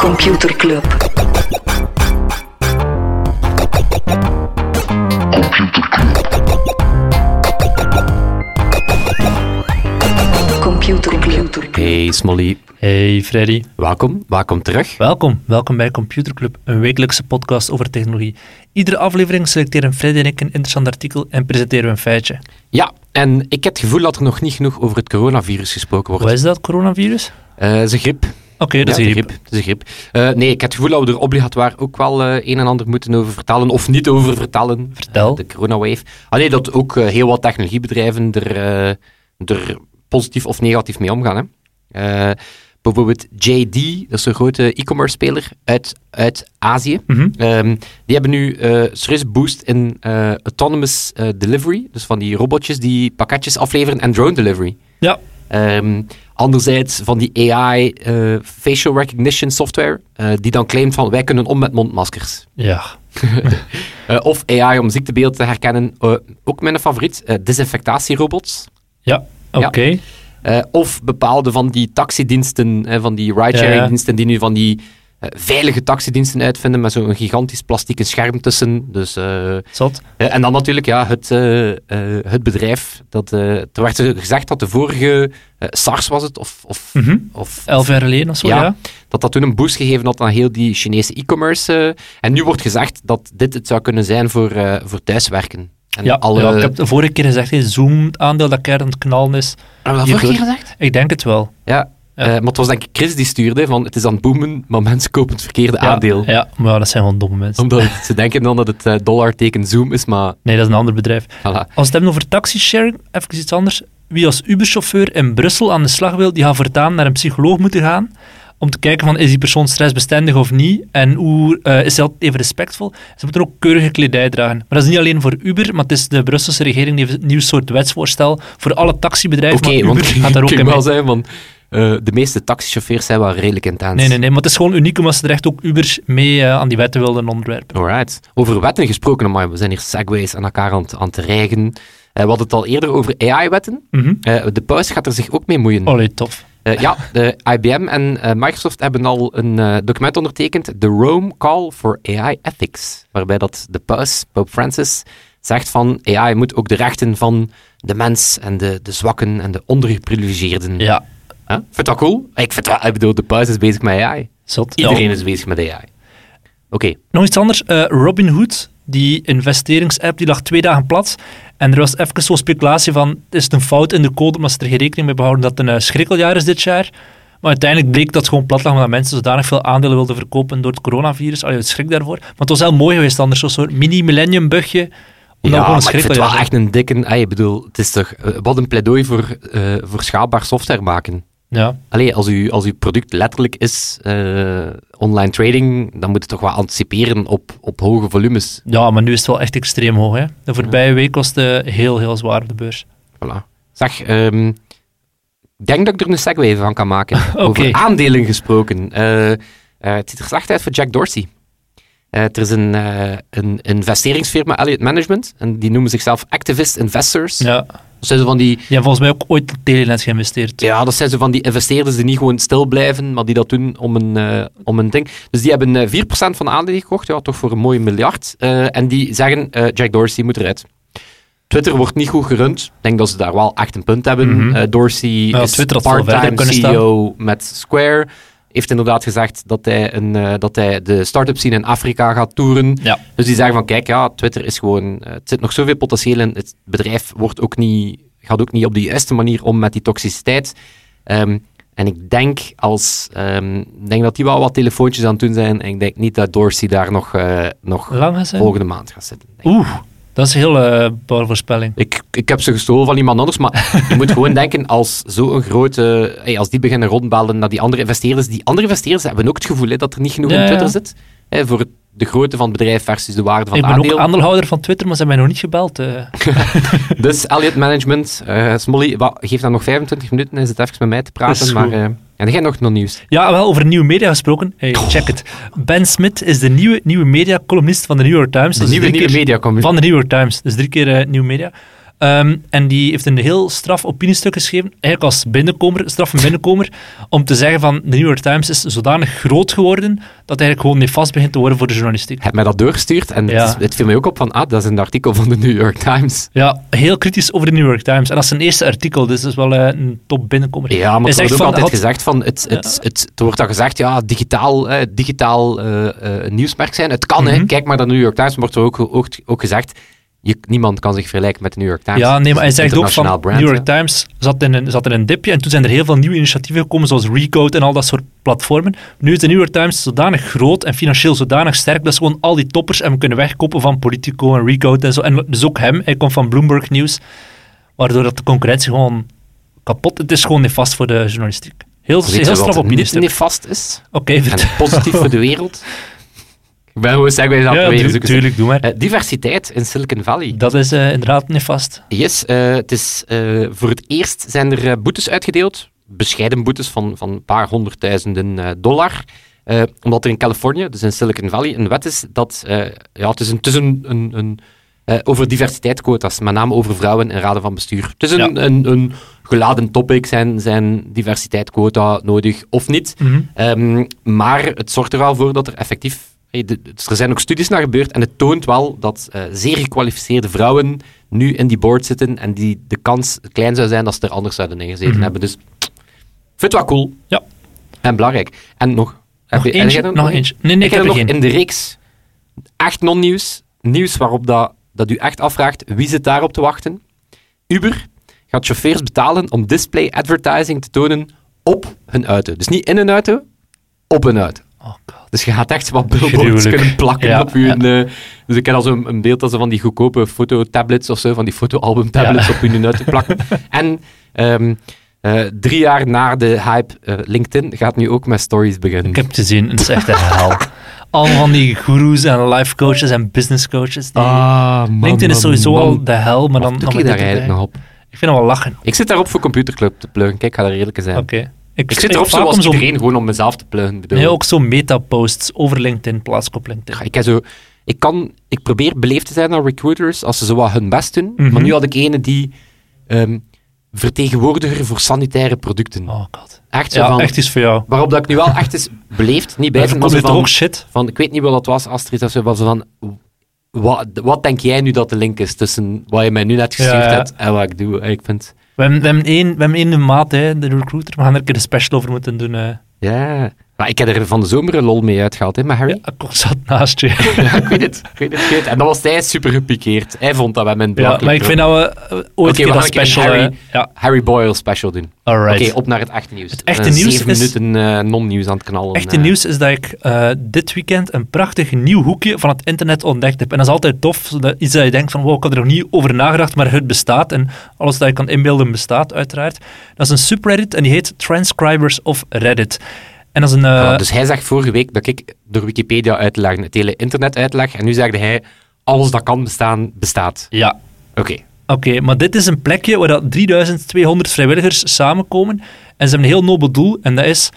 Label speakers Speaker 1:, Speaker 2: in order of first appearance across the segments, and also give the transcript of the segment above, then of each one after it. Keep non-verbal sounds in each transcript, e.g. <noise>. Speaker 1: Computer Club. Computer Club.
Speaker 2: Hey Smolly,
Speaker 3: Hey Freddy,
Speaker 2: welkom, welkom terug.
Speaker 3: welkom. Welkom bij Computer Club, een wekelijkse podcast over technologie. Iedere aflevering selecteren Freddy en ik een interessant artikel en presenteren we een feitje.
Speaker 2: Ja, en ik heb het gevoel dat er nog niet genoeg over het coronavirus gesproken wordt.
Speaker 3: Wat is dat, coronavirus?
Speaker 2: Eh, Het is een griep.
Speaker 3: Oké, dat
Speaker 2: Ja, het
Speaker 3: is hier.
Speaker 2: is een griep. Het is een griep. Eh, nee, ik heb het gevoel dat we er obligatoire ook wel eh, een en ander moeten over vertalen, of niet over vertalen.
Speaker 3: Vertel.
Speaker 2: De coronawave. Ah nee, dat ook eh, heel wat technologiebedrijven er, eh, er positief of negatief mee omgaan. Hè. Eh, bijvoorbeeld JD, dat is een grote e-commerce speler uit, uit Azië.
Speaker 3: Mhm.
Speaker 2: Ehm, die hebben nu eh serieus boost in eh, autonomous eh, delivery. Dus van die robotjes die pakketjes afleveren en drone delivery.
Speaker 3: Ja,
Speaker 2: Ehm, anderzijds van die AI eh, facial recognition software, eh, die dan claimt van wij kunnen om met mondmaskers.
Speaker 3: ja.
Speaker 2: Eh, of AI om ziektebeelden te herkennen, eh, ook mijn favoriet, eh, desinfectatierobots.
Speaker 3: Ja, oké.
Speaker 2: Eh, of bepaalde van die taxidiensten, eh, van die
Speaker 3: Ja, ja.
Speaker 2: ride-sharing-diensten, die nu van die eh, veilige taxidiensten uitvinden met zo'n gigantisch plastieke scherm tussen. Dus, eh, eh,
Speaker 3: Zot.
Speaker 2: en dan natuurlijk ja, het, eh, eh, het bedrijf. Dat, eh, er werd gezegd dat de vorige eh, SARS was het, of, of,
Speaker 3: Mhm.
Speaker 2: of
Speaker 3: Elf jaar geleden of zo,
Speaker 2: Ja.
Speaker 3: ja?
Speaker 2: dat dat toen een boost gegeven had aan heel die Chinese e-commerce. eh, en nu wordt gezegd dat dit het zou kunnen zijn voor, eh, voor thuiswerken. En
Speaker 3: Ja,
Speaker 2: alle...
Speaker 3: ja, ik heb de vorige keer gezegd, hey, Zoom, het aandeel dat keihard aan het knallen is.
Speaker 2: Hebben we
Speaker 3: Je
Speaker 2: dat Ah, vorige
Speaker 3: doet-
Speaker 2: keer gezegd?
Speaker 3: Ik denk het wel.
Speaker 2: Ja.
Speaker 3: Ja.
Speaker 2: Eh, maar het was denk ik Chris die stuurde van het is aan het boomen, maar mensen kopen het verkeerde
Speaker 3: Ja,
Speaker 2: aandeel.
Speaker 3: Ja, maar ja, dat zijn gewoon domme mensen.
Speaker 2: Omdat het- ze denken dan dat het eh, dollarteken Zoom is, maar
Speaker 3: Nee, dat is een ander bedrijf.
Speaker 2: voilà.
Speaker 3: Als we het hebben over taxisharing, even iets anders. Wie als Uberchauffeur in Brussel aan de slag wil, die gaat voortaan naar een psycholoog moeten gaan om te kijken van is die persoon stressbestendig of niet en hoe eh, is dat even respectvol. Ze moeten ook keurige kledij dragen. Maar dat is niet alleen voor Uber, maar het is de Brusselse regering die heeft een nieuw soort wetsvoorstel voor alle taxibedrijven.
Speaker 2: Oké,
Speaker 3: maar Uber
Speaker 2: want <laughs>
Speaker 3: gaat daar ook
Speaker 2: kan
Speaker 3: in mee.
Speaker 2: wel zijn, want eh, de meeste taxichauffeurs zijn wel redelijk intens.
Speaker 3: Nee, nee, nee, maar het is gewoon uniek omdat ze er echt ook Uber mee eh, aan die wetten wilden onderwerpen.
Speaker 2: Alright. Over wetten gesproken, amai, we zijn hier segways aan elkaar aan, het- aan te rijgen. Eh, we hadden het al eerder over AI-wetten.
Speaker 3: Mhm.
Speaker 2: de paus gaat er zich ook mee moeien.
Speaker 3: Allee, tof.
Speaker 2: Eh, ja, de IBM en eh, Microsoft hebben al een eh, document ondertekend, The Rome Call for AI Ethics, waarbij dat de paus, Pope Francis, zegt van AI moet ook de rechten van de mens en de, de zwakken en de ondergeprivilegeerden.
Speaker 3: Ja,
Speaker 2: Hè? Vind je dat cool? Ik vind wel, ik bedoel, de paus is bezig met AI.
Speaker 3: zot. Ja.
Speaker 2: Iedereen is bezig met AI. Oké,
Speaker 3: Nog iets anders. eh Robinhood, die investeringsapp, die lag twee dagen plat. En er was even zo'n speculatie van, is het een fout in de code, omdat ze er geen rekening mee behouden dat het een eh, schrikkeljaar is dit jaar. Maar uiteindelijk bleek dat het gewoon plat lag, omdat mensen zodanig veel aandelen wilden verkopen door het coronavirus. Allee, het schrik daarvoor. Maar het was heel mooi geweest anders, zo'n soort mini-millennium-bugje. Omdat het
Speaker 2: ja,
Speaker 3: gewoon
Speaker 2: maar
Speaker 3: een
Speaker 2: ik vind het
Speaker 3: schrikkeljaar
Speaker 2: wel
Speaker 3: was.
Speaker 2: echt een dikke... eh, Ik bedoel, het is toch... eh, Wat een pleidooi voor, eh, voor schaalbaar software maken.
Speaker 3: Ja.
Speaker 2: Allee, als, u, als uw product letterlijk is eh, online trading, dan moet het toch wel anticiperen op, op hoge volumes.
Speaker 3: ja, maar nu is het wel echt extreem hoog. Hè. De voorbije week was het eh, heel, heel zwaar op de beurs.
Speaker 2: Voilà. Zeg, ehm, ik denk dat ik er een segue van kan maken. Over <laughs> aandelen gesproken. Eh, eh, het ziet er slecht uit voor Jack Dorsey. Eh, er is een, eh, een investeringsfirma, Elliott Management, en die noemen zichzelf activist investors.
Speaker 3: Ja.
Speaker 2: Dat zijn zo van die,
Speaker 3: Die hebben volgens mij ook ooit in Telenet geïnvesteerd.
Speaker 2: ja, dat zijn zo van die investeerders die niet gewoon stil blijven, maar die dat doen om een, eh, om een ding. Dus die hebben eh, 4% van de aandelen gekocht, ja, toch voor een mooie miljard. Eh, en die zeggen, eh, Jack Dorsey moet eruit. Twitter wordt niet goed gerund. Ik denk dat ze daar wel echt een punt hebben.
Speaker 3: Mhm.
Speaker 2: Eh, Dorsey
Speaker 3: Ja,
Speaker 2: is
Speaker 3: Twitter had veel verder
Speaker 2: part-time
Speaker 3: kunnen staan.
Speaker 2: CEO met Square. Heeft inderdaad gezegd dat hij, een, eh, dat hij de start-up scene in Afrika gaat toeren.
Speaker 3: Ja.
Speaker 2: Dus die zeggen van, kijk, ja, Twitter is gewoon... eh, het zit nog zoveel potentieel in. Het bedrijf wordt ook niet, gaat ook niet op de juiste manier om met die toxiciteit. Ehm, en ik denk, als, ehm, ik denk dat die wel wat telefoontjes aan het doen zijn. En ik denk niet dat Dorsey daar nog, eh, nog
Speaker 3: Lang gaan zijn.
Speaker 2: volgende maand gaat zitten. denk ik.
Speaker 3: Oeh, dat is een heel eh bouwvoorspelling. voorspelling.
Speaker 2: Ik, ik heb ze gestolen van iemand anders,
Speaker 3: <laughs>
Speaker 2: maar je moet gewoon denken als zo'n grote... hey, als die beginnen rondbellen naar die andere investeerders... Die andere investeerders hebben ook het gevoel hè, dat er niet genoeg
Speaker 3: Ja,
Speaker 2: in Twitter
Speaker 3: ja.
Speaker 2: zit. Hè, voor het- de grootte van het bedrijf versus de waarde van
Speaker 3: Ik
Speaker 2: het
Speaker 3: ben
Speaker 2: aandeel.
Speaker 3: ook aandeelhouder van Twitter, maar ze hebben mij nog niet gebeld. eh.
Speaker 2: Dus Elliot Management, eh Smolly, wa- geef dan nog 25 minuten en zit even met mij te
Speaker 3: Is
Speaker 2: praten.
Speaker 3: goed.
Speaker 2: Maar, eh, en dan jij nog nog nieuws.
Speaker 3: Ja, wel over nieuwe media gesproken. Hey, check het. Ben Smith is de nieuwe, nieuwe media-columnist van de New York Times.
Speaker 2: De
Speaker 3: Dus
Speaker 2: nieuwe,
Speaker 3: drie
Speaker 2: nieuwe
Speaker 3: keer-
Speaker 2: media
Speaker 3: Van de New York Times. Dus drie keer eh nieuwe media. Ehm, en die heeft een heel straf opiniestuk geschreven, eigenlijk als binnenkomer, straf van binnenkomer, om te zeggen van de New York Times is zodanig groot geworden dat het eigenlijk gewoon nefast begint te worden voor de journalistiek.
Speaker 2: Heb mij dat doorgestuurd en
Speaker 3: Ja.
Speaker 2: het, is- het viel mij ook op van, ah, dat is een artikel van de New York Times.
Speaker 3: Ja, heel kritisch over de New York Times. En dat is zijn eerste artikel, dus dat is wel eh, een top binnenkomer.
Speaker 2: Ja, maar
Speaker 3: Hij
Speaker 2: het wordt
Speaker 3: zegt
Speaker 2: ook
Speaker 3: van,
Speaker 2: altijd
Speaker 3: had-
Speaker 2: gezegd van, het, het, het, er wordt dan gezegd, ja, digitaal, eh, digitaal eh, eh, nieuwsmerk zijn. Het kan, hè.
Speaker 3: Mhm.
Speaker 2: Kijk maar naar de New York Times, maar wordt er ook, ook, ook gezegd, je, niemand kan zich vergelijken met de New York Times.
Speaker 3: Ja, nee, maar hij
Speaker 2: Het is een
Speaker 3: zegt ook van
Speaker 2: internationaal brand,
Speaker 3: New York
Speaker 2: hè.
Speaker 3: Times zat in, een, zat in een dipje en toen zijn er heel veel nieuwe initiatieven gekomen zoals Recode en al dat soort platformen. Nu is de New York Times zodanig groot en financieel zodanig sterk dat ze gewoon al die toppers en we kunnen wegkoppen van Politico en Recode en zo. En dus ook hem, hij komt van Bloomberg News, waardoor dat de concurrentie gewoon kapot Het is gewoon nefast voor de journalistiek. Heel,
Speaker 2: Voor iets
Speaker 3: heel straf
Speaker 2: wat
Speaker 3: opinie.
Speaker 2: niet
Speaker 3: Oké,
Speaker 2: nefast
Speaker 3: <laughs>
Speaker 2: is en
Speaker 3: vertel.
Speaker 2: positief voor de wereld. Ik ben gewoon segways aan het
Speaker 3: Ja,
Speaker 2: proberen
Speaker 3: tu-
Speaker 2: zoeken.
Speaker 3: tuurlijk, doe maar.
Speaker 2: Eh, diversiteit in Silicon Valley.
Speaker 3: Dat is eh, inderdaad nefast.
Speaker 2: Yes, eh, het is, eh, voor het eerst zijn er eh, boetes uitgedeeld. Bescheiden boetes van, van een paar honderdduizenden eh, dollar. Eh, omdat er in Californië, dus in Silicon Valley, een wet is dat... eh, ja, het is een... Het is een, een, een eh, over diversiteitsquota's, met name over vrouwen in raden van bestuur. Het is een, eh,
Speaker 3: Ja.
Speaker 2: een, een geladen topic, zijn, zijn diversiteitsquota nodig of niet?
Speaker 3: Mhm.
Speaker 2: Ehm, maar het zorgt er wel voor dat er effectief. hey, de- dus er zijn ook studies naar gebeurd en het toont wel dat eh, zeer gekwalificeerde vrouwen nu in die board zitten en die de kans klein zou zijn dat ze er anders zouden in gezeten
Speaker 3: Mhm.
Speaker 2: hebben. Dus ik vind het wel cool
Speaker 3: Ja.
Speaker 2: en belangrijk. En nog. heb
Speaker 3: Nog
Speaker 2: je- heb
Speaker 3: eentje?
Speaker 2: jij er
Speaker 3: Nog eentje. Nee, nee, ik
Speaker 2: heb
Speaker 3: heb
Speaker 2: er
Speaker 3: er
Speaker 2: nog
Speaker 3: geen.
Speaker 2: in de reeks echt non-nieuws. Nieuws waarop dat, dat u echt afvraagt wie zit daarop te wachten. Uber gaat chauffeurs betalen om display advertising te tonen op hun auto. Dus niet in een auto, op een auto.
Speaker 3: Oh god.
Speaker 2: Dus je gaat echt wat billboards
Speaker 3: Gruwelijk.
Speaker 2: kunnen plakken
Speaker 3: Ja,
Speaker 2: op je. dus ik heb al zo'n een beeld als van die goedkope fototablets of zo, van die fotoalbumtablets op hun uit te plakken.
Speaker 3: <laughs>
Speaker 2: en ehm, eh, drie jaar na de hype, eh, LinkedIn gaat nu ook met stories beginnen.
Speaker 3: Ik heb het gezien, het is echt een hel.
Speaker 2: <laughs>
Speaker 3: Al van die goeroes en life coaches en business coaches. Die... Ah,
Speaker 2: Ah,
Speaker 3: LinkedIn is sowieso al de hel, maar dan...
Speaker 2: Dan doe
Speaker 3: dan
Speaker 2: ik
Speaker 3: met
Speaker 2: daar
Speaker 3: dit
Speaker 2: eigenlijk
Speaker 3: erbij.
Speaker 2: nog op.
Speaker 3: Ik vind hem wel lachen.
Speaker 2: Ik zit daarop voor computerclub te pluggen. Kijk, ik ga daar eerlijk in zijn.
Speaker 3: Oké.
Speaker 2: Ik zit erop
Speaker 3: vaak om
Speaker 2: zoals
Speaker 3: zo'n-
Speaker 2: iedereen, gewoon om mezelf te pluggen. bedoel.
Speaker 3: Nee, ook zo meta-posts over LinkedIn, plaats ik op LinkedIn.
Speaker 2: Ja, Ik, heb zo, ik, kan, ik probeer beleefd te zijn naar recruiters als ze zo wat hun best doen.
Speaker 3: Mhm.
Speaker 2: Maar nu had ik ene die ehm, vertegenwoordiger voor sanitaire producten.
Speaker 3: Oh god.
Speaker 2: Echt zo
Speaker 3: Ja,
Speaker 2: van,
Speaker 3: echt iets voor jou.
Speaker 2: Waarop dat ik nu wel echt is beleefd, niet bij
Speaker 3: Maar
Speaker 2: te
Speaker 3: komt dit
Speaker 2: van,
Speaker 3: ook shit?
Speaker 2: van, ik weet niet wat dat was, Astrid, of zo, was van, wat, wat denk jij nu dat de link is tussen wat je mij nu net gestuurd
Speaker 3: Ja, ja.
Speaker 2: hebt en wat ik doe? En ik vind,
Speaker 3: We hebben, we hebben één, we hebben één in maat, hè, de recruiter. We gaan er een keer een special over moeten doen. eh.
Speaker 2: ja... Maar ik heb er van de zomer een lol mee uitgehaald, hè, met Harry.
Speaker 3: Ja, ik zat
Speaker 2: <laughs>
Speaker 3: naast je.
Speaker 2: Ja, ik weet het, ik weet het, ik weet het. En dan was hij super gepikeerd. Hij vond dat wij mijn
Speaker 3: Ja,
Speaker 2: belachelijk
Speaker 3: maar ik vind dat we eh, ooit
Speaker 2: Oké,
Speaker 3: een
Speaker 2: we
Speaker 3: keer
Speaker 2: gaan
Speaker 3: dat
Speaker 2: een keer een
Speaker 3: special...
Speaker 2: Harry-
Speaker 3: eh, ja,
Speaker 2: Harry Boyle special doen.
Speaker 3: alright.
Speaker 2: Oké, op naar het echte nieuws. Het
Speaker 3: echte nieuws
Speaker 2: zeven
Speaker 3: is-
Speaker 2: minuten eh, non-nieuws aan het knallen.
Speaker 3: Echte
Speaker 2: eh.
Speaker 3: nieuws is dat ik eh, dit weekend een prachtig nieuw hoekje van het internet ontdekt heb. En dat is altijd tof, zodat iets dat je denkt van wow, ik had er nog niet over nagedacht, maar het bestaat. En alles dat je kan inbeelden bestaat uiteraard. Dat is een subreddit en die heet Transcribers of Reddit. En dat is een... eh,
Speaker 2: Voilà, dus hij zegt vorige week dat ik door Wikipedia uitleg, het hele internet uitleg. En nu zegde hij, alles dat kan bestaan, bestaat.
Speaker 3: Ja,
Speaker 2: Oké.
Speaker 3: Oké, maar dit is een plekje waar dat 3200 vrijwilligers samenkomen. En ze hebben een heel nobel doel, en dat is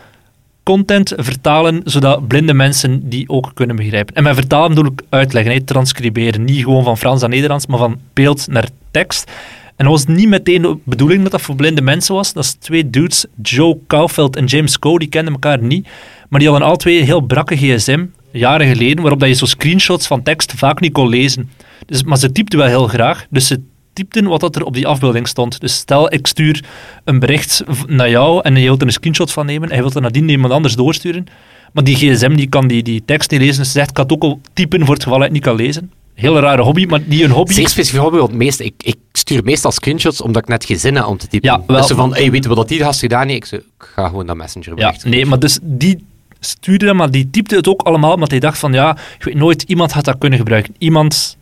Speaker 3: content vertalen, zodat blinde mensen die ook kunnen begrijpen. En met vertalen bedoel ik uitleggen, hè, transcriberen. Niet gewoon van Frans naar Nederlands, maar van beeld naar tekst. En dat was niet meteen de bedoeling dat dat voor blinde mensen was. Dat is twee dudes, Joe Kaufeld en James Coe, die kenden elkaar niet. Maar die hadden al twee een heel brakke gsm, jaren geleden, waarop dat je zo screenshots van tekst vaak niet kon lezen. Dus, maar ze typten wel heel graag, dus ze typten wat dat er op die afbeelding stond. Dus stel, ik stuur een bericht v- naar jou en je wilt er een screenshot van nemen en je wilt er nadien iemand anders doorsturen. Maar die gsm die kan die, die tekst niet lezen, dus ze zegt, ik kan het ook al typen voor het geval hij het niet kan lezen. Heel rare hobby, maar die een hobby...
Speaker 2: Zeer specifiek voorbeeld, want meest, ik, ik stuur meestal screenshots omdat ik net geen zin heb om te typen.
Speaker 3: Ja, wel.
Speaker 2: Dus zo van, hey, weet je wat dat hier gast gedaan heeft? Ik, zo, ik ga gewoon dat messenger
Speaker 3: Ja,
Speaker 2: bericht.
Speaker 3: nee, maar dus die stuurde dat, maar die typte het ook allemaal, omdat hij dacht van, ja, ik weet nooit, iemand had dat kunnen gebruiken. Iemand,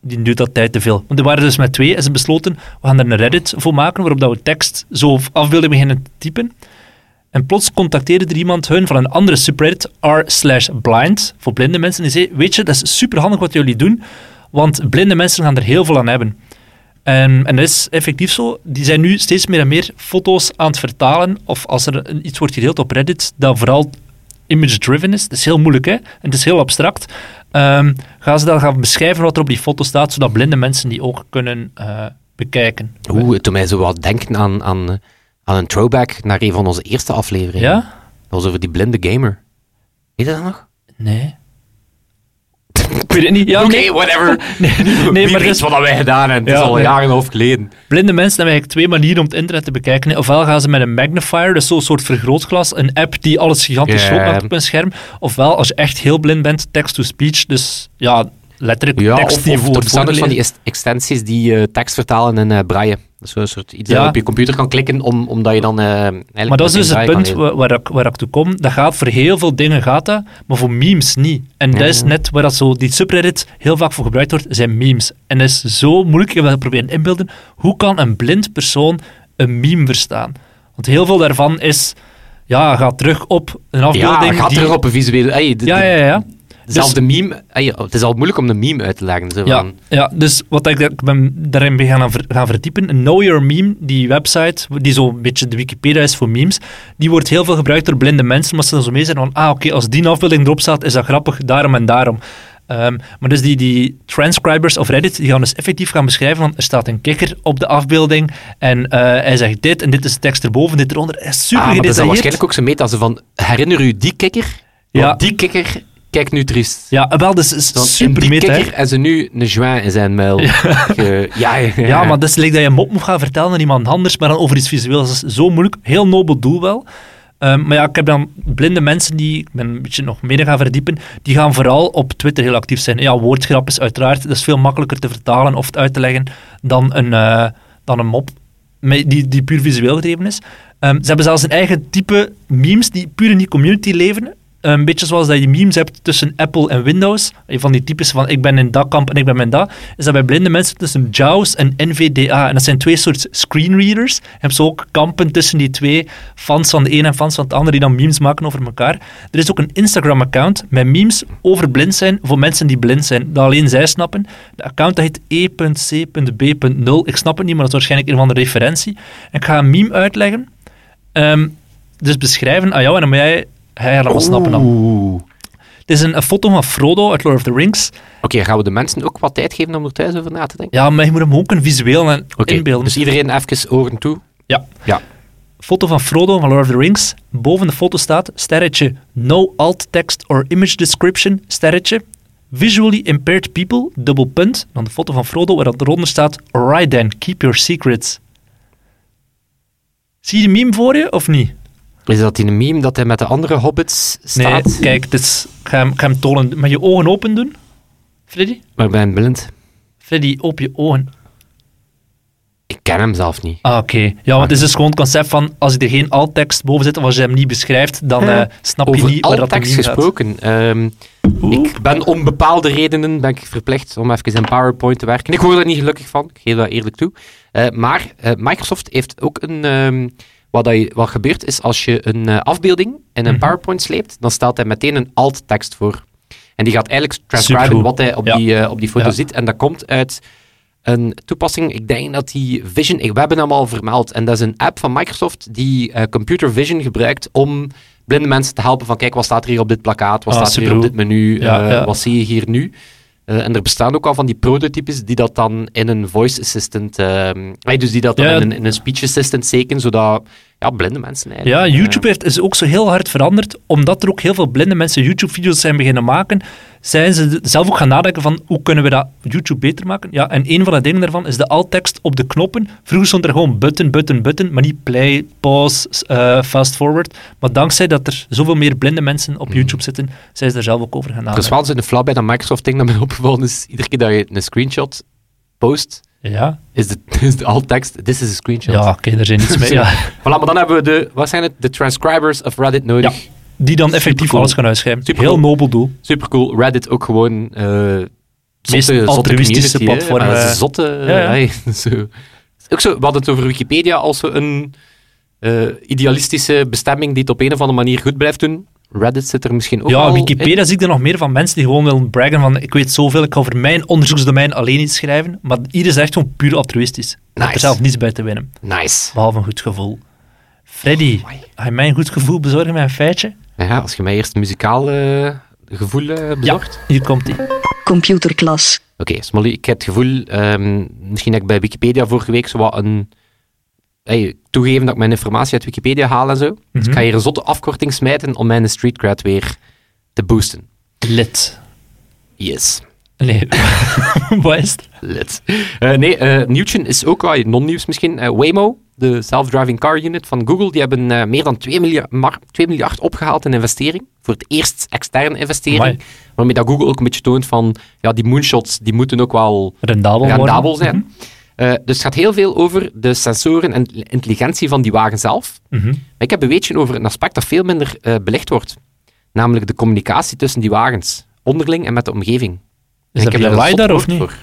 Speaker 3: die duurt dat tijd te veel. Want er waren dus met twee en ze besloten, we gaan er een Reddit voor maken, waarop dat we tekst zo afbeelding beginnen te typen. En plots contacteerde er iemand hun van een andere subreddit, r slash blind, voor blinde mensen, die zei, weet je, dat is superhandig wat jullie doen, want blinde mensen gaan er heel veel aan hebben. Ehm, En, en dat is effectief zo. Die zijn nu steeds meer en meer foto's aan het vertalen. Of als er een- iets wordt gedeeld op Reddit, dat vooral image-driven is. Dat is heel moeilijk, hè? En het is heel abstract. Ehm, gaan ze dan gaan beschrijven wat er op die foto staat, zodat blinde mensen die ook kunnen eh, bekijken.
Speaker 2: Oeh, het doet mij zo wat denken aan, aan, eh, aan een throwback naar een van onze eerste afleveringen.
Speaker 3: Ja?
Speaker 2: Dat was over die blinde gamer. Weet je dat nog?
Speaker 3: Nee. Ik weet het niet. Ja,
Speaker 2: Oké,
Speaker 3: nee.
Speaker 2: whatever.
Speaker 3: Nee,
Speaker 2: Wie
Speaker 3: maar
Speaker 2: weet
Speaker 3: dus-
Speaker 2: wat dat wij gedaan hebben. het
Speaker 3: Ja,
Speaker 2: is al
Speaker 3: nee.
Speaker 2: jaren en een half geleden.
Speaker 3: Blinde mensen hebben eigenlijk twee manieren om het internet te bekijken. Ofwel gaan ze met een magnifier, dus zo'n soort vergrootglas, een app die alles gigantisch
Speaker 2: Ja.
Speaker 3: groot maakt op een scherm. Ofwel, als je echt heel blind bent, text-to-speech, dus ja, letterlijk
Speaker 2: Ja,
Speaker 3: tekst
Speaker 2: of,
Speaker 3: die
Speaker 2: of
Speaker 3: wordt
Speaker 2: er bestaan ook van die
Speaker 3: voorgelezen.
Speaker 2: est- extensies die eh, tekst vertalen in eh braille. Dat is zo'n soort iets dat
Speaker 3: Ja.
Speaker 2: je op je computer kan klikken, om, omdat je dan... eh, eigenlijk
Speaker 3: Maar dat is
Speaker 2: meteen
Speaker 3: dus het
Speaker 2: braille kan
Speaker 3: punt
Speaker 2: lezen.
Speaker 3: wa- waar ik, waar ik toe kom. Dat gaat voor heel veel dingen, gaat dat, maar voor memes niet. En dat is net waar dat zo, die subreddit heel vaak voor gebruikt wordt, zijn memes. En dat is zo moeilijk, ik heb dat proberen inbeelden, hoe kan een blind persoon een meme verstaan? Want heel veel daarvan is, ja, gaat terug op een
Speaker 2: Ja,
Speaker 3: afbeelding
Speaker 2: gaat
Speaker 3: die...
Speaker 2: terug op een visuele... Hey, de-
Speaker 3: Ja,
Speaker 2: de-
Speaker 3: ja, ja.
Speaker 2: Zelfs de meme... hey, het is al moeilijk om de meme uit te leggen. Zo,
Speaker 3: Ja,
Speaker 2: van,
Speaker 3: ja, dus wat ik, ik ben daarin ben gaan, ver- gaan verdiepen, Know Your Meme, die website, die zo'n beetje de Wikipedia is voor memes, die wordt heel veel gebruikt door blinde mensen, omdat ze dan zo mee zijn van, ah oké, als die afbeelding erop staat, is dat grappig, daarom en daarom. Ehm, maar dus die, die transcribers of Reddit, die gaan dus effectief gaan beschrijven van, er staat een kikker op de afbeelding en eh, hij zegt dit, en dit is de tekst erboven, dit eronder. Hij is super
Speaker 2: Ah, maar dat is dan
Speaker 3: gedetailleerd.
Speaker 2: waarschijnlijk ook zo meta. Ze van, herinner u die kikker? Want
Speaker 3: Ja.
Speaker 2: die kikker kijkt nu triest.
Speaker 3: Ja, wel, dus is
Speaker 2: Dan, in
Speaker 3: super
Speaker 2: die
Speaker 3: meta, hè.
Speaker 2: kikker en ze nu een joint in zijn muil. Ge- Ja, ja, ja.
Speaker 3: <laughs> Ja, maar dat is like dat je een mop moet gaan vertellen aan iemand anders, maar dan over iets visueels. Dat is zo moeilijk. Heel nobel doel wel. Ehm, maar ja, ik heb dan blinde mensen die, ik ben een beetje nog meer gaan verdiepen, die gaan vooral op Twitter heel actief zijn. Ja, woordgrap is uiteraard, dat is veel makkelijker te vertalen of te uit te leggen dan een, eh, dan een mop me- die, die puur visueel gedreven is. Ehm, ze hebben zelfs een eigen type memes die puur in die community leven. Een beetje zoals dat je memes hebt tussen Apple en Windows. Van die types van ik ben in dat kamp en ik ben in dat. Is dat bij blinde mensen tussen JAWS en NVDA. En dat zijn twee soorten screenreaders. Je hebt zo ook kampen tussen die twee. Fans van de een en fans van de ander die dan memes maken over elkaar. Er is ook een Instagram-account met memes over blind zijn voor mensen die blind zijn. Dat alleen zij snappen. De account dat heet e e.c.b.0. Ik snap het niet, maar dat is waarschijnlijk een van de referentie. En ik ga een meme uitleggen. Ehm, dus beschrijven aan jou en dan moet jij... Hij gaat allemaal snappen dan.
Speaker 2: Oeh.
Speaker 3: Het is een, een foto van Frodo uit Lord of the Rings.
Speaker 2: Oké, gaan we de mensen ook wat tijd geven om er thuis over na te denken?
Speaker 3: Ja, maar je moet hem ook een visueel en
Speaker 2: Oké,
Speaker 3: inbeelden.
Speaker 2: dus iedereen even oren toe.
Speaker 3: Ja.
Speaker 2: Ja.
Speaker 3: Foto van Frodo van Lord of the Rings. Boven de foto staat sterretje no alt text or image description sterretje. Visually impaired people, dubbel punt. Dan de foto van Frodo waar dat eronder staat alright then, keep your secrets. Zie je de meme voor je of niet?
Speaker 2: Is dat in een meme dat hij met de andere hobbits staat?
Speaker 3: Nee, kijk, dit is, ik, ga hem, ik ga hem tonen. Mag je ogen open doen? Freddy?
Speaker 2: Maar ben blind.
Speaker 3: Freddy, open je ogen.
Speaker 2: Ik ken hem zelf niet.
Speaker 3: Ah, oké. Ja, want het is dus gewoon het concept van als je er geen alt-tekst boven zit of als je hem niet beschrijft, dan eh, snap je
Speaker 2: Over
Speaker 3: niet waar dat de
Speaker 2: alt-tekst
Speaker 3: meme gaat.
Speaker 2: gesproken. ehm, ik ben om bepaalde redenen ben ik verplicht om even in PowerPoint te werken. Ik word er niet gelukkig van, ik geef dat eerlijk toe. Eh, maar eh, Microsoft heeft ook een... ehm, wat, dat je, wat gebeurt is, als je een eh, afbeelding in een
Speaker 3: Mhm.
Speaker 2: PowerPoint sleept, dan staat hij meteen een alt-tekst voor. En die gaat eigenlijk transcriben
Speaker 3: Supergoed.
Speaker 2: wat hij op,
Speaker 3: Ja.
Speaker 2: die, eh, op die foto
Speaker 3: Ja.
Speaker 2: ziet. En dat komt uit een toepassing, ik denk dat die Vision, we hebben hem al vermeld, en dat is een app van Microsoft die eh, computer vision gebruikt om blinde mensen te helpen van kijk, wat staat er hier op dit plakkaat, wat
Speaker 3: Ah,
Speaker 2: staat er hier op
Speaker 3: supergoe.
Speaker 2: dit menu,
Speaker 3: Ja,
Speaker 2: eh,
Speaker 3: ja.
Speaker 2: wat zie je hier nu? Eh, en er bestaan ook al van die prototypes die dat dan in een voice assistant, ehm, eh, dus die dat dan
Speaker 3: Ja.
Speaker 2: in, een, in een speech assistant steken, zodat ja, blinde mensen eigenlijk...
Speaker 3: Ja,
Speaker 2: eh,
Speaker 3: YouTube heeft, is ook zo heel hard veranderd, omdat er ook heel veel blinde mensen YouTube-video's zijn beginnen maken, zijn ze de- zelf ook gaan nadenken van hoe kunnen we dat YouTube beter maken. Ja, en een van de dingen daarvan is de alt-tekst op de knoppen. Vroeger stond er gewoon button, button, button, maar niet play, pause, s- eh, fast forward. Maar dankzij dat er zoveel meer blinde mensen op YouTube zitten, zijn ze er zelf ook over gaan
Speaker 2: Er is
Speaker 3: nadenken.
Speaker 2: wel zo'n flauw bij Mhm. dat Microsoft-ding dat mij <laughs> opgevallen is, iedere keer dat je een screenshot post,
Speaker 3: Ja,
Speaker 2: is de, <laughs> is de alt-tekst, this is a screenshot.
Speaker 3: ja oké, daar zijn niets
Speaker 2: <laughs>
Speaker 3: mee.
Speaker 2: Zo.
Speaker 3: Ja.
Speaker 2: Voilà, maar dan hebben we de, wat zijn het, de transcribers of Reddit nodig.
Speaker 3: Ja. Die dan effectief
Speaker 2: Supercool.
Speaker 3: alles gaan uitschrijven.
Speaker 2: Supercool.
Speaker 3: Heel nobel doel.
Speaker 2: Supercool. Reddit ook gewoon... eh zotte- zotte
Speaker 3: altruïstische
Speaker 2: community, hè.
Speaker 3: platform,
Speaker 2: Maar dat is
Speaker 3: eh.
Speaker 2: een zotte...
Speaker 3: Ja, ja.
Speaker 2: hey, <laughs> zo. Ook zo, we hadden het over Wikipedia als zo een eh, idealistische bestemming die het op een of andere manier goed blijft doen. Reddit zit er misschien ook
Speaker 3: Ja,
Speaker 2: al
Speaker 3: Wikipedia zie ik er nog meer van mensen die gewoon willen braggen van ik weet zoveel, ik ga over mijn onderzoeksdomein alleen iets schrijven. Maar hier is echt gewoon puur altruïstisch. Ik heb
Speaker 2: Nice.
Speaker 3: er zelf niets bij te winnen,
Speaker 2: in. Nice.
Speaker 3: behalve een goed gevoel. Freddy,
Speaker 2: Amai.
Speaker 3: ga je mij een goed gevoel bezorgen met een feitje?
Speaker 2: Ja, als je mij eerst muzikaal eh, gevoel eh, bezorgt.
Speaker 3: Hier komt hij.
Speaker 1: Computerklas.
Speaker 2: Oké, Smolly, ik heb het gevoel, ehm, misschien dat ik bij Wikipedia vorige week zo wat een... Hey, toegeven dat ik mijn informatie uit Wikipedia haal en zo. Dus ik ga hier een zotte afkorting smijten om mijn streetcred weer te boosten.
Speaker 3: Lid.
Speaker 2: Yes,
Speaker 3: Nee. <laughs> Wat is het?
Speaker 2: let. Eh, nee, eh nieuwtje is ook ah, non-nieuws misschien. Eh, Waymo, de self-driving car unit van Google, die hebben eh, meer dan 2 miljard, mar- 2 miljard opgehaald in investering. Voor het eerst externe investering.
Speaker 3: Amai.
Speaker 2: Waarmee dat Google ook een beetje toont van, ja, die moonshots, die moeten ook wel
Speaker 3: Rendabel worden.
Speaker 2: rendabel zijn.
Speaker 3: Mhm.
Speaker 2: Eh, dus het gaat heel veel over de sensoren en intelligentie van die wagen zelf.
Speaker 3: Mhm.
Speaker 2: Maar ik heb een weetje over een aspect dat veel minder eh, belicht wordt. Namelijk de communicatie tussen die wagens. Onderling en met de omgeving.
Speaker 3: Is
Speaker 2: En
Speaker 3: dat
Speaker 2: ik
Speaker 3: via
Speaker 2: heb daar een
Speaker 3: LiDAR
Speaker 2: zot
Speaker 3: of
Speaker 2: woord
Speaker 3: niet?
Speaker 2: voor.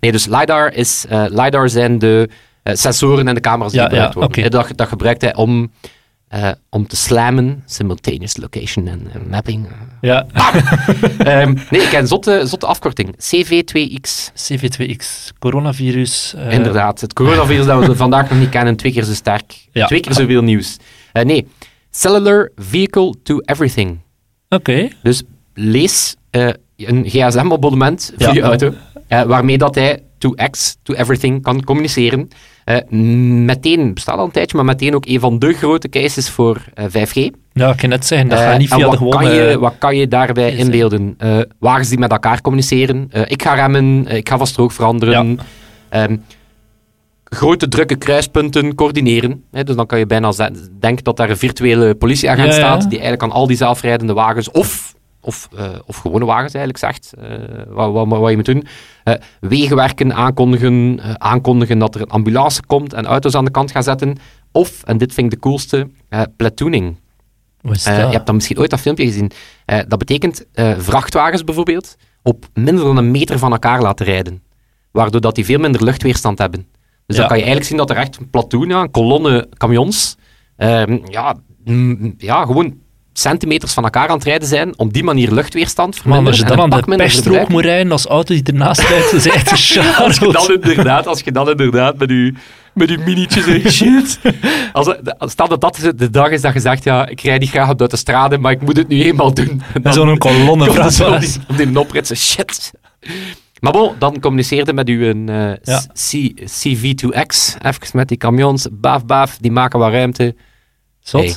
Speaker 2: Nee, dus LiDAR, is, eh, LiDAR zijn de eh, sensoren en de camera's die
Speaker 3: Ja,
Speaker 2: gebruikt
Speaker 3: ja,
Speaker 2: worden.
Speaker 3: oké.
Speaker 2: Eh, Dat, dat gebruikt hij om, eh, om te slammen, simultaneous location en en mapping.
Speaker 3: Ja,
Speaker 2: Ehm, nee, ik heb een zotte, zotte afkorting. CV2X.
Speaker 3: CV2X, coronavirus. eh,
Speaker 2: Inderdaad, het coronavirus dat we vandaag nog niet kennen, twee keer zo sterk.
Speaker 3: Ja.
Speaker 2: Twee keer zoveel nieuws. Eh, nee, Cellular Vehicle to Everything.
Speaker 3: Oké.
Speaker 2: Dus lees eh, een gsm-abonnement voor
Speaker 3: Ja.
Speaker 2: je auto, eh, waarmee dat hij to X, to everything kan communiceren. Eh, meteen, bestaat al een tijdje, maar meteen ook een van de grote cases voor eh, 5G.
Speaker 3: Ja, ik kan net zeggen, dat
Speaker 2: Eh,
Speaker 3: gaat niet
Speaker 2: en
Speaker 3: via
Speaker 2: wat
Speaker 3: de gewone...
Speaker 2: Kan je, wat kan je daarbij
Speaker 3: eh, Is,
Speaker 2: inbeelden? Eh, wagens die met elkaar communiceren. Eh, ik ga remmen, eh, ik ga van strook veranderen. Ehm, grote drukke kruispunten coördineren. Hè, dus dan kan je bijna ze- denken dat daar een virtuele politieagent
Speaker 3: Ja, ja.
Speaker 2: staat, die eigenlijk aan al die zelfrijdende wagens of, of, eh, of gewone wagens eigenlijk zegt, eh, wat, wat, wat je moet doen. Eh, wegenwerken aankondigen, eh, aankondigen dat er een ambulance komt en auto's aan de kant gaan zetten. Of, en dit vind ik de coolste, eh platooning.
Speaker 3: Wat is
Speaker 2: Eh,
Speaker 3: dat?
Speaker 2: je hebt dan misschien ooit dat filmpje gezien. Eh, dat betekent eh, vrachtwagens bijvoorbeeld op minder dan een meter van elkaar laten rijden. Waardoor dat die veel minder luchtweerstand hebben. Dus
Speaker 3: Ja.
Speaker 2: dan kan je eigenlijk zien dat er echt een platoon, ja, een kolonne camions, ehm, ja, mm, ja, gewoon centimeters van elkaar aan het rijden zijn, om die manier luchtweerstand te
Speaker 3: Maar als je
Speaker 2: verminderen
Speaker 3: dan
Speaker 2: en
Speaker 3: aan
Speaker 2: een pak
Speaker 3: de
Speaker 2: minder verbruik.
Speaker 3: pechstrook moet rijden als auto die ernaast rijdt, is
Speaker 2: <laughs>
Speaker 3: echt
Speaker 2: Als je
Speaker 3: charlotte.
Speaker 2: dan inderdaad, als je dan inderdaad met je, met je minietjes en shit. Als, als- stel dat dat de dag is dat je zegt, ja, ik rijd niet graag op de autostrade, maar ik moet het nu eenmaal doen. Dan
Speaker 3: <laughs>
Speaker 2: <laughs>
Speaker 3: Zo'n kolonne
Speaker 2: komt het zo op
Speaker 3: vrachtwagens.
Speaker 2: die, op die opritsen, shit. Maar bon, dan communiceerde met uw eh,
Speaker 3: Ja.
Speaker 2: C- CV2X, even met die camions, baaf baaf, die maken wat ruimte.
Speaker 3: Zot.
Speaker 2: Hey.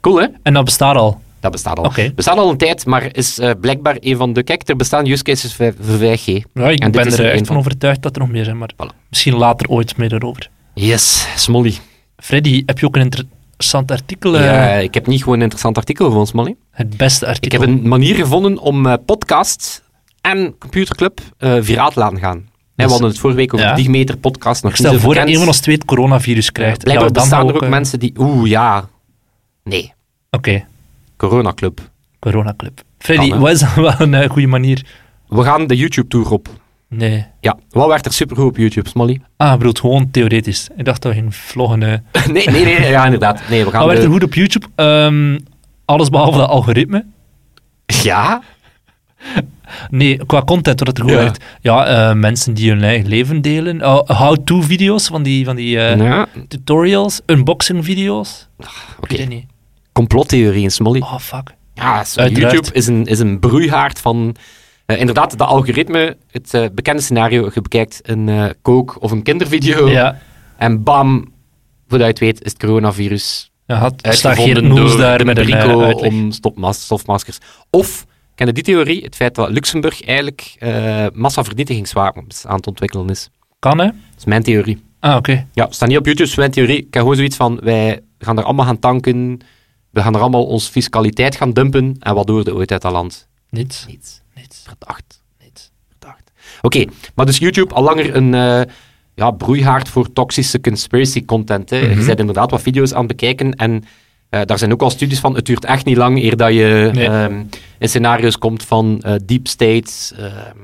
Speaker 2: Cool hè?
Speaker 3: En dat bestaat al.
Speaker 2: Dat bestaat al.
Speaker 3: Oké.
Speaker 2: Bestaat al een tijd, maar is eh, blijkbaar een van de... Kijk, er bestaan use cases voor 5G.
Speaker 3: Ja, ik
Speaker 2: En dit
Speaker 3: ben
Speaker 2: is
Speaker 3: er
Speaker 2: er
Speaker 3: echt
Speaker 2: één
Speaker 3: van
Speaker 2: van.
Speaker 3: overtuigd dat er nog meer zijn, maar
Speaker 2: Voilà.
Speaker 3: misschien later ooit meer erover.
Speaker 2: Yes, Smolly.
Speaker 3: Freddy, heb je ook een interessant artikel? eh,
Speaker 2: Ja, ik heb niet gewoon een interessant artikel voor ons, Molly.
Speaker 3: Het beste
Speaker 2: Ik
Speaker 3: artikel.
Speaker 2: heb een manier gevonden om eh, podcast en computerclub eh viraal te laten gaan. Hè,
Speaker 3: Dus-
Speaker 2: we hadden het vorige week over
Speaker 3: ja.
Speaker 2: de Digmeter podcast nog
Speaker 3: Ik stel
Speaker 2: niet zo
Speaker 3: voor dat
Speaker 2: bekend.
Speaker 3: een van ons twee het coronavirus krijgt.
Speaker 2: Blijkbaar
Speaker 3: Dat we dan
Speaker 2: bestaan er ook
Speaker 3: eh,
Speaker 2: mensen die... Oeh, ja. Nee.
Speaker 3: Oké,
Speaker 2: Coronaclub.
Speaker 3: coronaclub. Freddy,
Speaker 2: Kan, hè?
Speaker 3: wat is dan <laughs> wel een eh, goede manier?
Speaker 2: We gaan de YouTube-tour op.
Speaker 3: Nee.
Speaker 2: Ja. Wat werd er supergoed op YouTube, Smolly? <laughs>
Speaker 3: Ah, ik bedoel, gewoon theoretisch. Ik dacht dat we gingen vloggen. eh.
Speaker 2: nee, nee, nee. Ja, inderdaad. Nee, we gaan
Speaker 3: Wat werd
Speaker 2: de-
Speaker 3: er goed op YouTube? Ehm, alles behalve dat algoritme.
Speaker 2: Ja?
Speaker 3: Nee, qua content wordt het goed
Speaker 2: Ja.
Speaker 3: uit. Ja, eh, mensen die hun eigen leven delen. Oh, How-to-video's van die, van die eh,
Speaker 2: ja.
Speaker 3: tutorials. Unboxing-video's.
Speaker 2: Oké.
Speaker 3: Ik weet het niet.
Speaker 2: Complottheorieën, Smolly.
Speaker 3: Oh, fuck.
Speaker 2: Ja, zo-
Speaker 3: Uiteraard.
Speaker 2: YouTube is een, is een broeihaard van... eh, inderdaad, dat algoritme, het eh, bekende scenario, je bekijkt een eh, kook- of een kindervideo
Speaker 3: Ja,
Speaker 2: en bam, voordat je het weet is het coronavirus
Speaker 3: ja had, staat Geert
Speaker 2: uitgevonden
Speaker 3: Noels
Speaker 2: door
Speaker 3: daar met een eh,
Speaker 2: Rico
Speaker 3: uitleg.
Speaker 2: om stopmas- stofmaskers. Of, ken je die theorie, het feit dat Luxemburg eigenlijk eh massavernietigingswapens aan het ontwikkelen is.
Speaker 3: Kan, hè?
Speaker 2: Dat is mijn theorie.
Speaker 3: Ah, oké.
Speaker 2: Ja, het staat niet op YouTube, het is mijn theorie. Ik heb gewoon zoiets van, wij gaan er allemaal gaan tanken, we gaan er allemaal onze fiscaliteit gaan dumpen en wat doen we er ooit uit dat land?
Speaker 3: Niets.
Speaker 2: Niets.
Speaker 3: Niets.
Speaker 2: Verdacht.
Speaker 3: Niets.
Speaker 2: Verdacht. Oké, maar dus YouTube al langer een eh, ja, broeihaard voor toxische conspiracy content. Hè.
Speaker 3: Mhm.
Speaker 2: Je bent inderdaad wat video's aan het bekijken en eh, daar zijn ook al studies van. Het duurt echt niet lang eer dat je
Speaker 3: Nee.
Speaker 2: ehm, in scenario's komt van eh, deep states, ehm,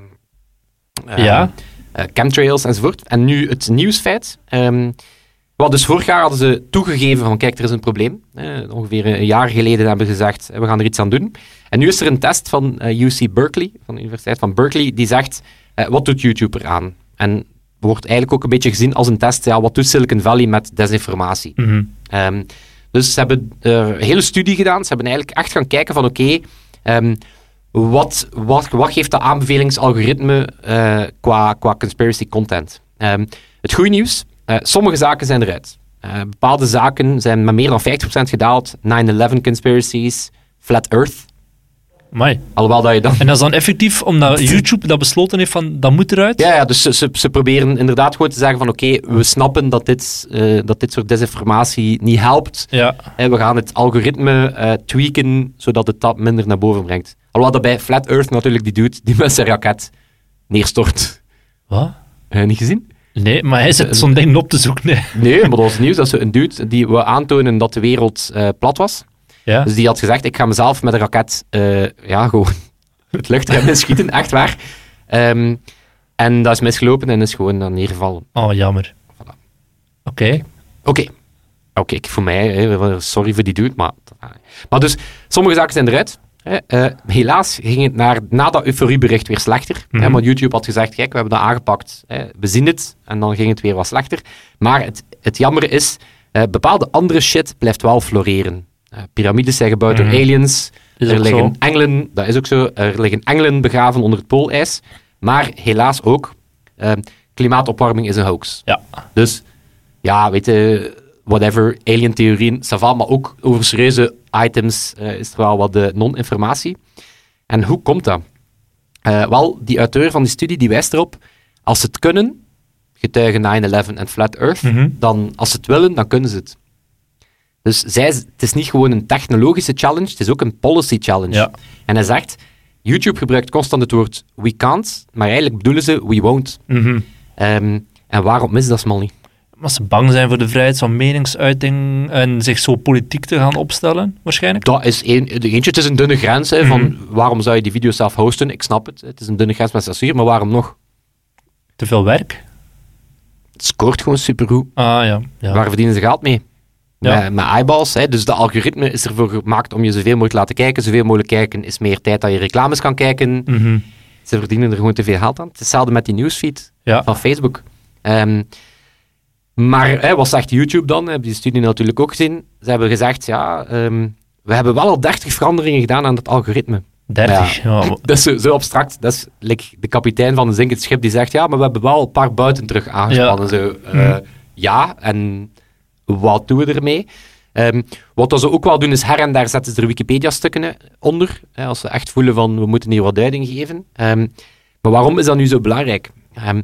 Speaker 2: ehm,
Speaker 3: Ja.
Speaker 2: eh, chemtrails enzovoort. En nu het nieuwsfeit. ehm, wel, dus vorig jaar hadden ze toegegeven van kijk, er is een probleem. Eh, ongeveer een jaar geleden hebben ze gezegd, eh, we gaan er iets aan doen. En nu is er een test van eh, UC Berkeley, van de Universiteit van Berkeley, die zegt, eh, wat doet YouTube eraan? En wordt eigenlijk ook een beetje gezien als een test, ja, wat doet Silicon Valley met desinformatie?
Speaker 3: Mhm.
Speaker 2: Ehm, dus ze hebben eh, een hele studie gedaan. Ze hebben eigenlijk echt gaan kijken van oké, ehm, Wat, wat, wat geeft dat aanbevelingsalgoritme eh, qua, qua conspiracy content? Ehm, het goede nieuws, eh, sommige zaken zijn eruit. Eh, bepaalde zaken zijn met meer dan 50% gedaald. 9-11 conspiracies, Flat Earth.
Speaker 3: Amai.
Speaker 2: Alhoewel dat je dan
Speaker 3: En dat is dan
Speaker 2: <laughs>
Speaker 3: effectief omdat YouTube dat besloten heeft van dat moet eruit.
Speaker 2: Ja, ja dus ze, ze, ze proberen inderdaad gewoon te zeggen van oké, we snappen dat dit, eh, dat dit soort desinformatie niet helpt.
Speaker 3: Ja.
Speaker 2: En we gaan het algoritme eh, tweaken, zodat het dat minder naar boven brengt. Alhoewel dat bij Flat Earth natuurlijk die dude die met zijn raket neerstort.
Speaker 3: Wat?
Speaker 2: Heb je niet gezien?
Speaker 3: Nee, maar hij zit zo'n ding op te zoeken. Nee.
Speaker 2: Nee, maar dat was nieuws. Dat ze een dude die we aantonen dat de wereld eh, plat was.
Speaker 3: Ja.
Speaker 2: Dus die had gezegd, ik ga mezelf met een raket eh, ja, gewoon <laughs> het luchtruim in schieten. Echt waar. Ehm, en dat is misgelopen en is gewoon dan neergevallen.
Speaker 3: Oh, jammer. Oké.
Speaker 2: Oké. Oké, ik voor mij, hè, sorry voor die dude, maar... Maar dus, sommige zaken zijn eruit. Hè. Eh, helaas ging het naar, na dat euforiebericht weer slechter. Hè,
Speaker 3: Mhm.
Speaker 2: want YouTube had gezegd, kijk, we hebben dat aangepakt. Hè, we zien het. En dan ging het weer wat slechter. Maar het, het jammer is, eh, bepaalde andere shit blijft wel floreren. Eh, piramides zijn gebouwd
Speaker 3: Mhm.
Speaker 2: door aliens.
Speaker 3: Is
Speaker 2: er
Speaker 3: ook
Speaker 2: liggen
Speaker 3: zo.
Speaker 2: engelen, dat is ook zo, er liggen engelen begraven onder het poolijs. Maar helaas ook, eh, klimaatopwarming is een hoax.
Speaker 3: Ja.
Speaker 2: Dus ja, weet je, whatever, alien-theorieën, ça va, maar ook over serieuze items eh, is er wel wat eh, non-informatie. En hoe komt dat? Eh, wel, die auteur van die studie die wijst erop, als ze het kunnen, getuigen 9-11 en Flat Earth,
Speaker 3: Mhm.
Speaker 2: dan als ze het willen, dan kunnen ze het. Dus zij, het is niet gewoon een technologische challenge, het is ook een policy challenge.
Speaker 3: Ja.
Speaker 2: En hij zegt, YouTube gebruikt constant het woord we can't, maar eigenlijk bedoelen ze we won't.
Speaker 3: Mhm.
Speaker 2: Ehm, en waarom mis dat smal niet?
Speaker 3: Omdat ze bang zijn voor de vrijheid van meningsuiting en zich zo politiek te gaan opstellen, waarschijnlijk.
Speaker 2: Dat is een, de eentje, het is een dunne grens. Hè, van
Speaker 3: Mhm.
Speaker 2: Waarom zou je die video's zelf hosten? Ik snap het. Het is een dunne grens met censuur, maar waarom nog?
Speaker 3: Te veel werk.
Speaker 2: Het scoort gewoon supergoed.
Speaker 3: Ah ja. ja.
Speaker 2: Waar verdienen ze geld mee?
Speaker 3: Ja.
Speaker 2: Met, met eyeballs. Hè, dus dat algoritme is ervoor gemaakt om je zoveel mogelijk te laten kijken. Zoveel mogelijk kijken is meer tijd dat je reclames kan kijken.
Speaker 3: Mhm.
Speaker 2: Ze verdienen er gewoon te veel geld aan. Het is hetzelfde met die newsfeed.
Speaker 3: Ja.
Speaker 2: van Facebook. Ehm, maar hè, wat zegt YouTube dan? Hebben die studie natuurlijk ook gezien. Ze hebben gezegd, ja, ehm, we hebben wel al 30 veranderingen gedaan aan het algoritme.
Speaker 3: 30. Ja.
Speaker 2: Dat is zo, zo abstract. Dat is like, de kapitein van een zinkend schip die zegt, ja, maar we hebben wel een paar buiten terug aangespannen. Zo, eh, Ja, en wat doen we ermee? Ehm, wat dat ze ook wel doen is her en daar zetten ze er Wikipedia-stukken eh, onder. hè, als ze echt voelen van, we moeten hier wat duiding geven. Ehm, maar waarom is dat nu zo belangrijk? Ehm,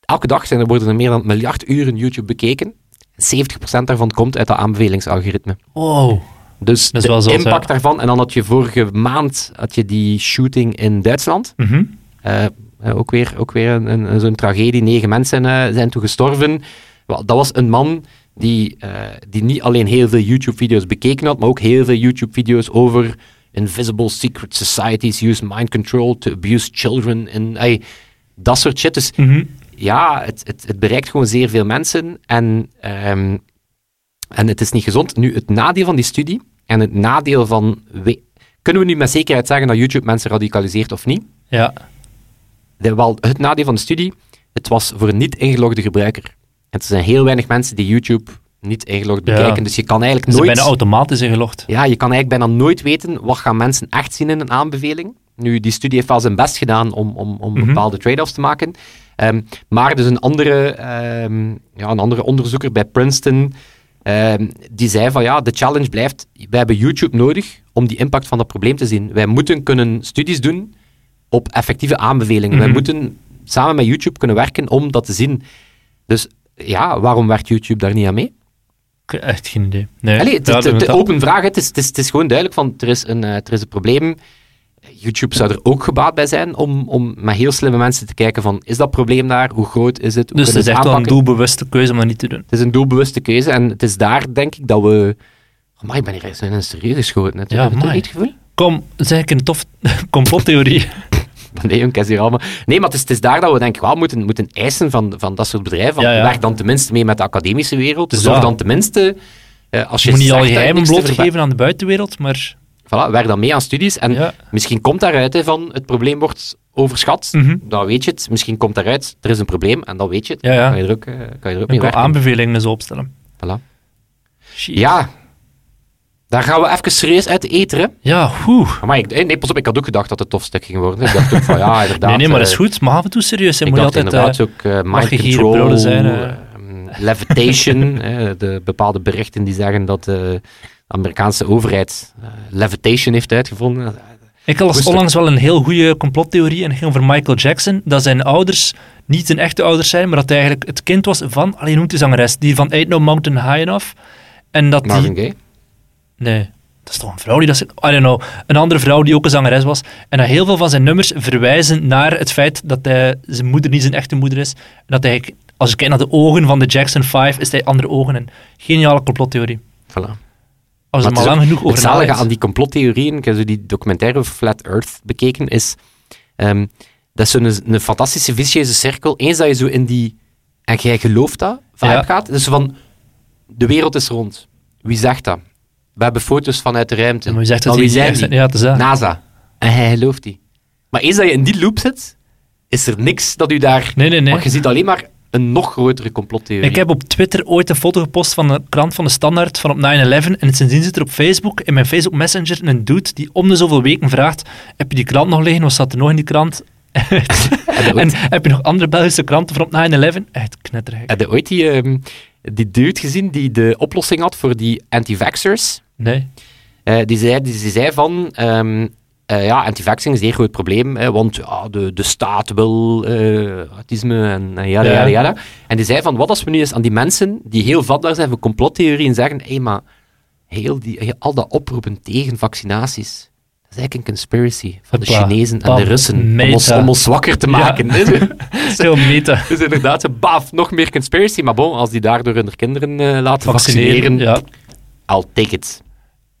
Speaker 2: elke dag zijn er, worden er meer dan een miljard uren YouTube bekeken. 70% daarvan komt uit dat aanbevelingsalgoritme.
Speaker 3: Wow.
Speaker 2: Dus
Speaker 3: Dat is
Speaker 2: de
Speaker 3: wel zot, hè?
Speaker 2: impact daarvan, en dan had je vorige maand had je die shooting in Duitsland.
Speaker 3: Mhm.
Speaker 2: Eh, eh, ook weer, ook weer een, een- zo'n tragedie. Negen mensen eh, zijn toen gestorven. Wel, dat was een man die, eh, die niet alleen heel veel YouTube-video's bekeken had, maar ook heel veel YouTube-video's over invisible secret societies use mind control to abuse children. En, ey, dat soort shit. Dus
Speaker 3: Mhm.
Speaker 2: ja, het, het, het bereikt gewoon zeer veel mensen en, ehm, en het is niet gezond. Nu, het nadeel van die studie en het nadeel van... we- kunnen we nu met zekerheid zeggen dat YouTube mensen radicaliseert of niet?
Speaker 3: Ja.
Speaker 2: De- wel, het nadeel van de studie, het was voor een niet ingelogde gebruiker. En er zijn heel weinig mensen die YouTube niet ingelogd
Speaker 3: Ja.
Speaker 2: bekijken, dus je kan eigenlijk
Speaker 3: Ze zijn
Speaker 2: nooit...
Speaker 3: bijna automatisch ingelogd.
Speaker 2: Ja, je kan eigenlijk bijna nooit weten wat gaan mensen echt zien in een aanbeveling. Nu, die studie heeft wel zijn best gedaan om, om, om
Speaker 3: Mhm.
Speaker 2: bepaalde trade-offs te maken. Ehm, maar dus een andere, ehm, ja, een andere onderzoeker bij Princeton, ehm, die zei van ja, de challenge blijft, wij hebben YouTube nodig om die impact van dat probleem te zien. Wij moeten kunnen studies doen op effectieve aanbevelingen. Wij
Speaker 3: Mhm.
Speaker 2: moeten samen met YouTube kunnen werken om dat te zien. Dus ja, waarom werkt YouTube daar niet aan mee?
Speaker 3: Ik heb echt geen idee. Nee.
Speaker 2: Allee, het,
Speaker 3: Ja,
Speaker 2: het- het-
Speaker 3: inderdaad.
Speaker 2: open vraag. hè. Het is, het, is, het is gewoon duidelijk van, er is een, eh, er is een probleem. YouTube zou er ook gebaat bij zijn om, om met heel slimme mensen te kijken van, is dat probleem daar? Hoe groot is het? Hoe
Speaker 3: dus het
Speaker 2: kunnen
Speaker 3: is
Speaker 2: we
Speaker 3: echt wel een
Speaker 2: aanpakken?
Speaker 3: doelbewuste keuze om dat niet te doen.
Speaker 2: Het is een doelbewuste keuze en het is daar, denk ik, dat we... Oh, Maar ik ben hier eens in een serieus geschoten. Net.
Speaker 3: Ja,
Speaker 2: Heb je het ook
Speaker 3: amai.
Speaker 2: niet het gevoel?
Speaker 3: Kom, dat is eigenlijk een tof <laughs> complottheorie.
Speaker 2: <laughs> Nee, jong, ik is hier allemaal... Nee, maar het is, het is daar dat we denk ik wel moeten, moeten eisen van, van dat soort bedrijven. Van,
Speaker 3: Ja, ja.
Speaker 2: Werk dan tenminste mee met de academische wereld.
Speaker 3: Dus
Speaker 2: Zorg
Speaker 3: ja.
Speaker 2: dan tenminste... eh, als je
Speaker 3: Je moet niet
Speaker 2: zegt dat
Speaker 3: al je geheimen
Speaker 2: niks te verbergen-
Speaker 3: blootgeven aan de buitenwereld, maar
Speaker 2: Voilà, werk dan mee aan studies. En
Speaker 3: Ja.
Speaker 2: misschien komt daaruit hè, van het probleem wordt overschat.
Speaker 3: Mhm.
Speaker 2: Dan weet je het. Misschien komt daaruit, er is een probleem en dan weet je het.
Speaker 3: Ja, ja.
Speaker 2: Kan je er ook, eh, kan je er ook mee
Speaker 3: ik wil
Speaker 2: werken.
Speaker 3: aanbevelingen zo opstellen.
Speaker 2: Voilà.
Speaker 3: Shit.
Speaker 2: Ja, Daar gaan we even serieus uit eten. hè.
Speaker 3: Ja, hoe.
Speaker 2: Maar ik, eh, nee, pas op, ik had ook gedacht dat het tof stuk ging worden. Ik dacht ook van, ja, inderdaad.
Speaker 3: <laughs> Nee, nee, maar dat is
Speaker 2: eh,
Speaker 3: goed. Maar af en toe serieus. Hè,
Speaker 2: Ik
Speaker 3: moet je
Speaker 2: dacht
Speaker 3: altijd,
Speaker 2: inderdaad
Speaker 3: eh,
Speaker 2: ook eh mind
Speaker 3: mag je hier
Speaker 2: control,
Speaker 3: broden zijn, eh?
Speaker 2: eh,
Speaker 3: <laughs>
Speaker 2: levitation, eh, de bepaalde berichten die zeggen dat eh, de Amerikaanse overheid eh, levitation heeft uitgevonden.
Speaker 3: ik las
Speaker 2: Rustig.
Speaker 3: onlangs wel een heel goede complottheorie en dat ging over Michael Jackson. Dat zijn ouders niet zijn echte ouders zijn, maar dat hij eigenlijk het kind was van, alleen noemt die zangeres, die van Ain't No Mountain High Enough. En dat die
Speaker 2: Marvin Gaye.
Speaker 3: Nee, dat is toch een vrouw die dat... ze- I don't know. Een andere vrouw die ook een zangeres was. En dat heel veel van zijn nummers verwijzen naar het feit dat hij, zijn moeder niet zijn echte moeder is. En dat hij, als je kijkt naar de ogen van de Jackson 5, is hij andere ogen. Een geniale complottheorie.
Speaker 2: Voilà.
Speaker 3: Als
Speaker 2: Maar
Speaker 3: er
Speaker 2: het
Speaker 3: maar
Speaker 2: is
Speaker 3: lang
Speaker 2: ook-
Speaker 3: genoeg over
Speaker 2: Het zalige
Speaker 3: nadenkt.
Speaker 2: aan die complottheorieën, ik heb zo die documentaire over Flat Earth bekeken, is ehm, dat is zo'n een fantastische vicieuze cirkel. Eens dat je zo in die, en jij gelooft dat, vibe
Speaker 3: Ja.
Speaker 2: gaat, dus van, de wereld is rond. Wie zegt dat? We hebben foto's vanuit de ruimte.
Speaker 3: Maar je zegt
Speaker 2: Maar
Speaker 3: dat
Speaker 2: wie
Speaker 3: hij niet
Speaker 2: zijn
Speaker 3: echt-
Speaker 2: die?
Speaker 3: Ja, het is dat.
Speaker 2: NASA. En hij gelooft die. Maar eens dat je in die loop zit, is er niks dat u daar...
Speaker 3: Nee, nee, nee.
Speaker 2: Want je ziet alleen maar een nog grotere complottheorie.
Speaker 3: Ik heb op Twitter ooit een foto gepost van de krant van de Standaard van op 9-11. En sindsdien zit er op Facebook, in mijn Facebook Messenger, een dude die om de zoveel weken vraagt: Heb je die krant nog liggen? Wat staat er nog in die krant?
Speaker 2: Heb je ooit,
Speaker 3: En heb je nog andere Belgische kranten van op 9-11? Echt knettergek.
Speaker 2: heb je ooit die, ehm, die dude gezien die de oplossing had voor die anti-vaxxers?
Speaker 3: Nee.
Speaker 2: Eh, die, zei, die, die zei van... ehm, eh, ja, anti-vaxxing is een zeer groot probleem, hè, want ja, de, de staat wil eh, autisme en en jada,
Speaker 3: Ja.
Speaker 2: jada, jada. En die zei van, wat als we nu eens aan die mensen die heel vatbaar zijn voor complottheorieën zeggen, hé, maar heel die, heel- al dat oproepen tegen vaccinaties, dat is eigenlijk een conspiracy van de
Speaker 3: Hopla.
Speaker 2: Chinezen en
Speaker 3: Bam.
Speaker 2: de Russen om ons,
Speaker 3: Meta.
Speaker 2: om ons zwakker te
Speaker 3: Ja. <laughs>
Speaker 2: maken. <laughs>
Speaker 3: Veel meta.
Speaker 2: dus inderdaad, ze baaf, nog meer conspiracy, maar bon, als die daardoor hun kinderen eh, laten vaccineren,
Speaker 3: Vaccineren. Ja,
Speaker 2: I'll take it.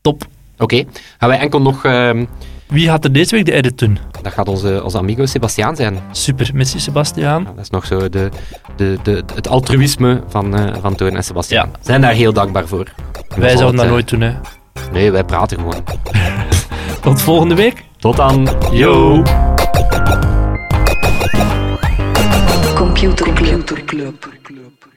Speaker 3: top.
Speaker 2: Oké, gaan wij enkel nog... ehm,
Speaker 3: Wie gaat er deze week de edit doen?
Speaker 2: Dat gaat onze, onze amigo Sebastiaan zijn.
Speaker 3: Super. Missie Sebastiaan.
Speaker 2: Ja, dat is nog zo de, de, de, het altruïsme van, eh, van Toon en Sebastiaan.
Speaker 3: Ja.
Speaker 2: Zijn daar heel dankbaar voor. En dan
Speaker 3: Wij
Speaker 2: zal
Speaker 3: zouden dat
Speaker 2: het,
Speaker 3: nooit doen, hè.
Speaker 2: eh, Nee, wij praten gewoon.
Speaker 3: Tot volgende week.
Speaker 2: Tot dan.
Speaker 3: Yo.
Speaker 1: Computer Club. Computer Club.